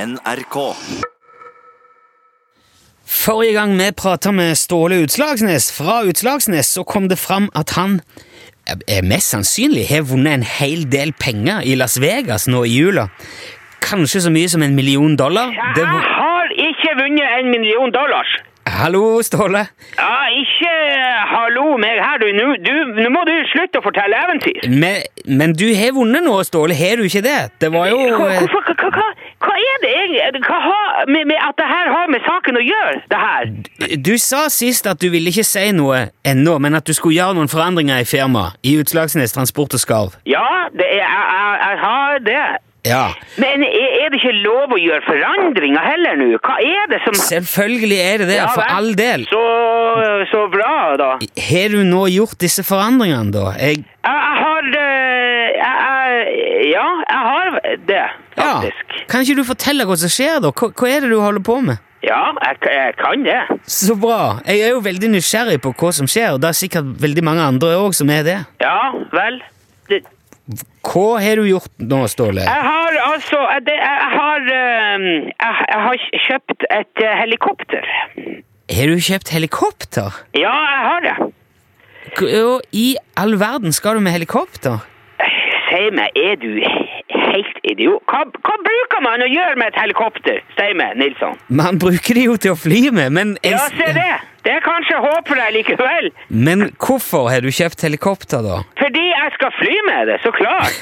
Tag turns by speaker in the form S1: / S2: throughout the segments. S1: NRK.
S2: Forrige gang vi prata med Ståle Utslagsnes fra Utslagsnes, så kom det fram at han eh, mest sannsynlig har vunnet en hel del penger i Las Vegas nå i jula. Kanskje så mye som en million dollar? Det
S3: Jeg
S2: var...
S3: har ikke vunnet en million dollars.
S2: Hallo, Ståle.
S3: Ja, ikke eh, hallo meg her, du. Nå, du. nå må du slutte å fortelle eventyr.
S2: Men, men du har vunnet noe, Ståle. Har du ikke det? Det var jo
S3: Hva,
S2: eh,
S3: hvorfor- hva, hva, hva er det egentlig Hva har med, med at det her har med saken å gjøre, det her?
S2: Du sa sist at du ville ikke si noe ennå, men at du skulle gjøre noen forandringer i firmaet. I Utslagsnes Transport og Skarv.
S3: Ja, det er, jeg, jeg, jeg har det.
S2: Ja.
S3: Men er, er det ikke lov å gjøre forandringer heller nå? Hva er det som
S2: Selvfølgelig er det det,
S3: Ja,
S2: for
S3: vel.
S2: all del.
S3: Så, så bra, da.
S2: Har du nå gjort disse forandringene, da? Jeg,
S3: Jeg, jeg har eh, jeg, jeg, Ja, jeg har det,
S2: ja.
S3: faktisk.
S2: Kan ikke du fortelle hva som skjer, da? Hva, hva er det du holder på med?
S3: Ja, jeg, jeg kan det.
S2: Så bra. Jeg er jo veldig nysgjerrig på hva som skjer, og det er sikkert veldig mange andre òg som er det.
S3: Ja, vel. Det,
S2: Hva har du gjort nå, Ståle?
S3: jeg har altså eh, det, jeg, har, eh, jeg, jeg har kj- kjøpt et eh, helikopter.
S2: Har du kjøpt helikopter?
S3: Ja, jeg har det.
S2: K- Og i all verden skal du med helikopter?
S3: Si meg, er du helt idiot? Hva, hva bruker man å gjøre med et helikopter? Si meg, Nilsson.
S2: Man bruker det jo til å fly med, men
S3: Ja, se det. Det er kanskje håp for deg likevel.
S2: Men hvorfor har du kjøpt helikopter, da?
S3: Fordi jeg skal fly med det, så klart.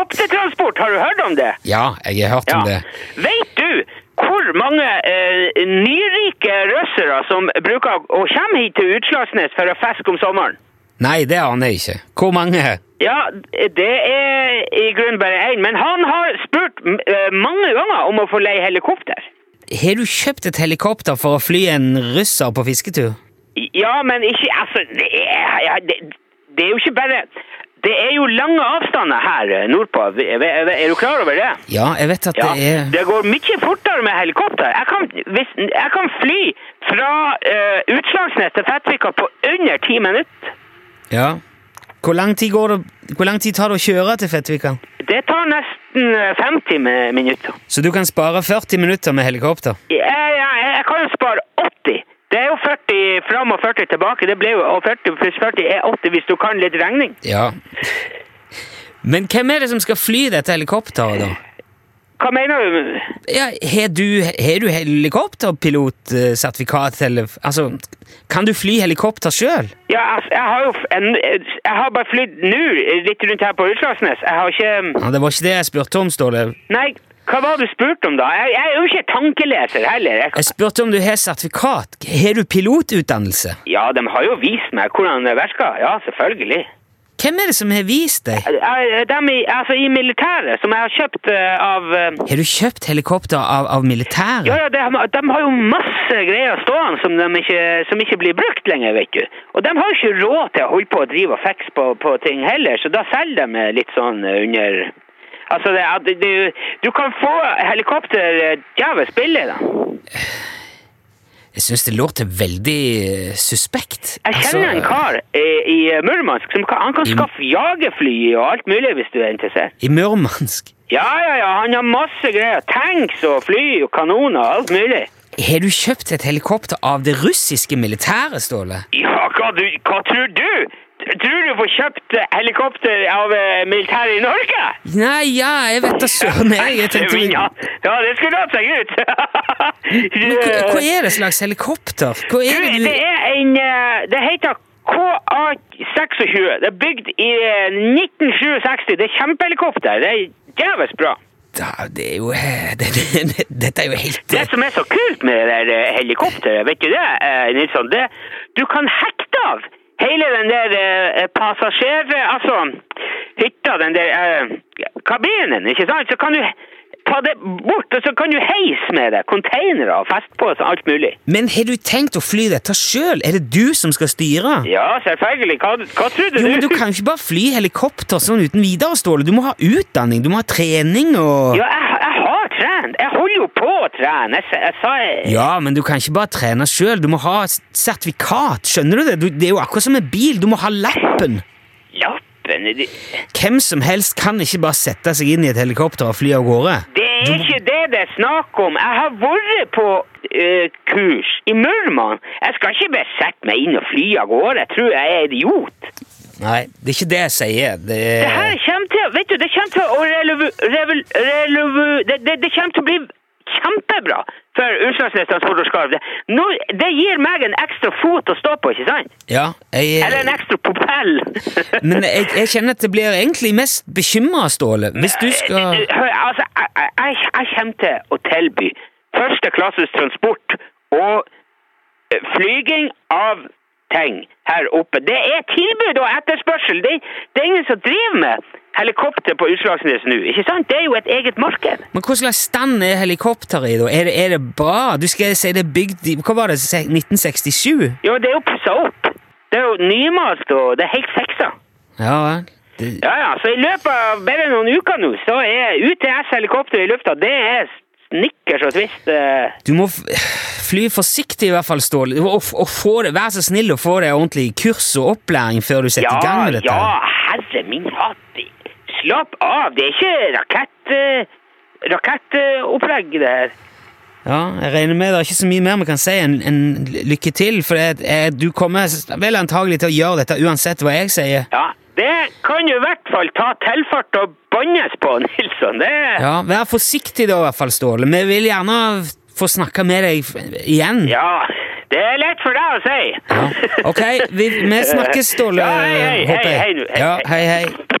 S3: Helikoptertransport, har du hørt om det?
S2: Ja, jeg har hørt om det.
S3: Vet du hvor mange eh, nyrike russere som bruker å komme hit til Utslagsnes for å fiske om sommeren?
S2: Nei, det aner jeg ikke. Hvor mange?
S3: Ja, det er i grunnen bare én, men han har spurt eh, mange ganger om å få leie helikopter.
S2: Har du kjøpt et helikopter for å fly en russer på fisketur?
S3: Ja, men ikke Altså, det er, ja, det, det er jo ikke bare Det er jo lange avstander her eh, nordpå. V- v- Er du klar over det?
S2: Ja, jeg vet at
S3: Ja,
S2: det er
S3: det går mye fortere med helikopter. Jeg kan, hvis, jeg kan fly fra eh, Utslagsnes til Fettvika på under ti minutter.
S2: Ja. Hvor lang tid, går det, hvor lang tid tar det å kjøre til Fettvika?
S3: Det tar nesten eh, 50 mi- minutter.
S2: Så du kan spare 40 minutter med helikopter?
S3: Jeg, jeg, jeg kan jo spare 80. Det er jo 40 fram og 40 tilbake. Det blir jo og 40 pluss 40 er 80 hvis du kan litt regning.
S2: Ja. Men hvem er det som skal fly dette helikopteret, da?
S3: Hva mener du?
S2: Ja, Har du, har du helikopterpilotsertifikat, eller Altså, kan du fly helikopter sjøl?
S3: Ja, altså, jeg har jo f- en, jeg har bare flydd nå litt rundt her på Utslagsnes. Jeg har ikke
S2: Ja, det var ikke det jeg spurte om, Ståle.
S3: Nei, hva var det du spurte om, da? Jeg, jeg er jo ikke tankeleser heller. Jeg,
S2: Jeg spurte om du har sertifikat. Har du pilotutdannelse?
S3: Ja, de har jo vist meg hvordan det virker. Ja, selvfølgelig.
S2: Hvem er det som har vist deg?
S3: De i, altså, i militæret, som jeg har kjøpt eh, av eh,
S2: Har du kjøpt helikopter av, av militæret?
S3: Ja, ja, de, har- de har jo masse greier stående som, de ikke, som ikke blir brukt lenger, vet du. Og de har jo ikke råd til å holde på å drive og fikse på, på ting heller, så da selger de eh, litt sånn eh, under Altså, det, at du, du kan få helikopter eh, djevelsk billig, da.
S2: Jeg syns det låter veldig eh, suspekt. Altså,
S3: Jeg kjenner en kar eh, i Murmansk som kan, han kan skaffe jagerfly og alt mulig hvis du er interessert.
S2: I Murmansk.
S3: Ja, ja, ja, han har masse greier. Tanks og fly og kanoner og alt mulig.
S2: Har du kjøpt et helikopter av det russiske militæret, Ståle?
S3: Ja, hva, du, hva tror du? Tror du får kjøpt eh, helikopter av eh, militæret i Norge?
S2: Nei, ja, jeg vet da søren. jeg. Jeg tenkte
S3: ja, ja, det skulle hatt seg ut.
S2: Men hva, hva er det slags helikopter? Hva
S3: Du,
S2: er det du
S3: det er en eh, Det heter KA-26. Det er bygd i eh, 1967. Det er kjempehelikopter. Det er jævlig bra.
S2: da, Det er jo eh, det, det, det, Dette er jo helt eh.
S3: Det som er så kult med det der eh, helikopteret, vet du det, eh, Nilsson, det du kan hekte av hele den der eh, passasjer... Altså, hytta, den der eh, kabinen, ikke sant? Så kan du ta det bort, og så kan du heise med det. Containere og festpåser, alt mulig.
S2: Men har du tenkt å fly dette sjøl? Er det du som skal styre?
S3: Ja, selvfølgelig. Hva, hva trodde
S2: Jo,
S3: du?
S2: men Du kan jo ikke bare fly helikopter sånn uten videre, Ståle. Du må ha utdanning, du må ha trening og
S3: Ja, jeg, jeg har trent. Jeg holder jo på å trene. Jeg, sa- jeg sa
S2: Ja, men du kan ikke bare trene sjøl. Du må ha et sertifikat. Skjønner du det? Du, det er jo akkurat som en bil. Du må ha lappen.
S3: Lappen det-
S2: Hvem som helst kan ikke bare sette seg inn i et helikopter og fly av gårde.
S3: Det er ikke det det er snakk om. Jeg har vært på eh, kurs i Murmansk. Jeg skal ikke bare sette meg inn og fly av gårde. Jeg tror jeg er idiot. Eh.
S2: Nei, det er ikke det jeg sier. Det,
S3: Det her kommer til, vet du, det kommer til å relevu, revol, relevu, det, det, det kommer til å bli kjempebra for Utslagsnes Transport og Skarv. Det, nå- det gir meg en ekstra fot å stå på, ikke sant?
S2: Ja,
S3: Eller en
S2: jeg,
S3: ekstra propell.
S2: men jeg, jeg kjenner at det blir egentlig mest bekymra, Ståle. Hvis du skal
S3: Hør, altså, jeg, jeg, jeg jeg kommer til å tilby første klasses transport og eh, flyging av ting her oppe. Det er tilbud og etterspørsel. Det, det er ingen som driver med helikopter på Utslagsnes nå, ikke sant? Det er jo et eget marked.
S2: Men hva slags stand er helikopteret i, da? Er det, er det bra? Du skal si det er bygd i Hva var det, se- 1967?
S3: Jo, det er jo pussa opp. Det er jo nymalt, og det er helt fiksa.
S2: Ja vel. Det-
S3: Ja, ja, så i løpet av bare noen uker nå, så er UTS-helikopter i lufta, det er snickers og twist. eh.
S2: Du må f- fly forsiktig, i hvert fall, Ståle. Og, f- og få det, vær så snill å få deg ordentlig kurs og opplæring før du setter i gang med dette.
S3: Ja, herre min hatt. Slapp av, det er ikke rakett... eh, rakettopplegg det her.
S2: Ja, jeg regner med det er ikke så mye mer vi kan si enn enn lykke til, for det, eh, du kommer s- vel antagelig til å gjøre dette uansett hva jeg sier.
S3: Ja, det kan jo i hvert fall ta tilfart og bannes på, Nilsson. Det,
S2: Ja, vær forsiktig da, i hvert fall, Ståle. Vi vil gjerne få snakke med deg f- igjen.
S3: ja, det er lett for deg å si.
S2: Ja. Ok, vi, vi snakkes, Ståle.
S3: Ja, hei, hei,
S2: håper jeg.
S3: hei, hei nå, hei,
S2: ja,
S3: hei.
S2: hei, hei.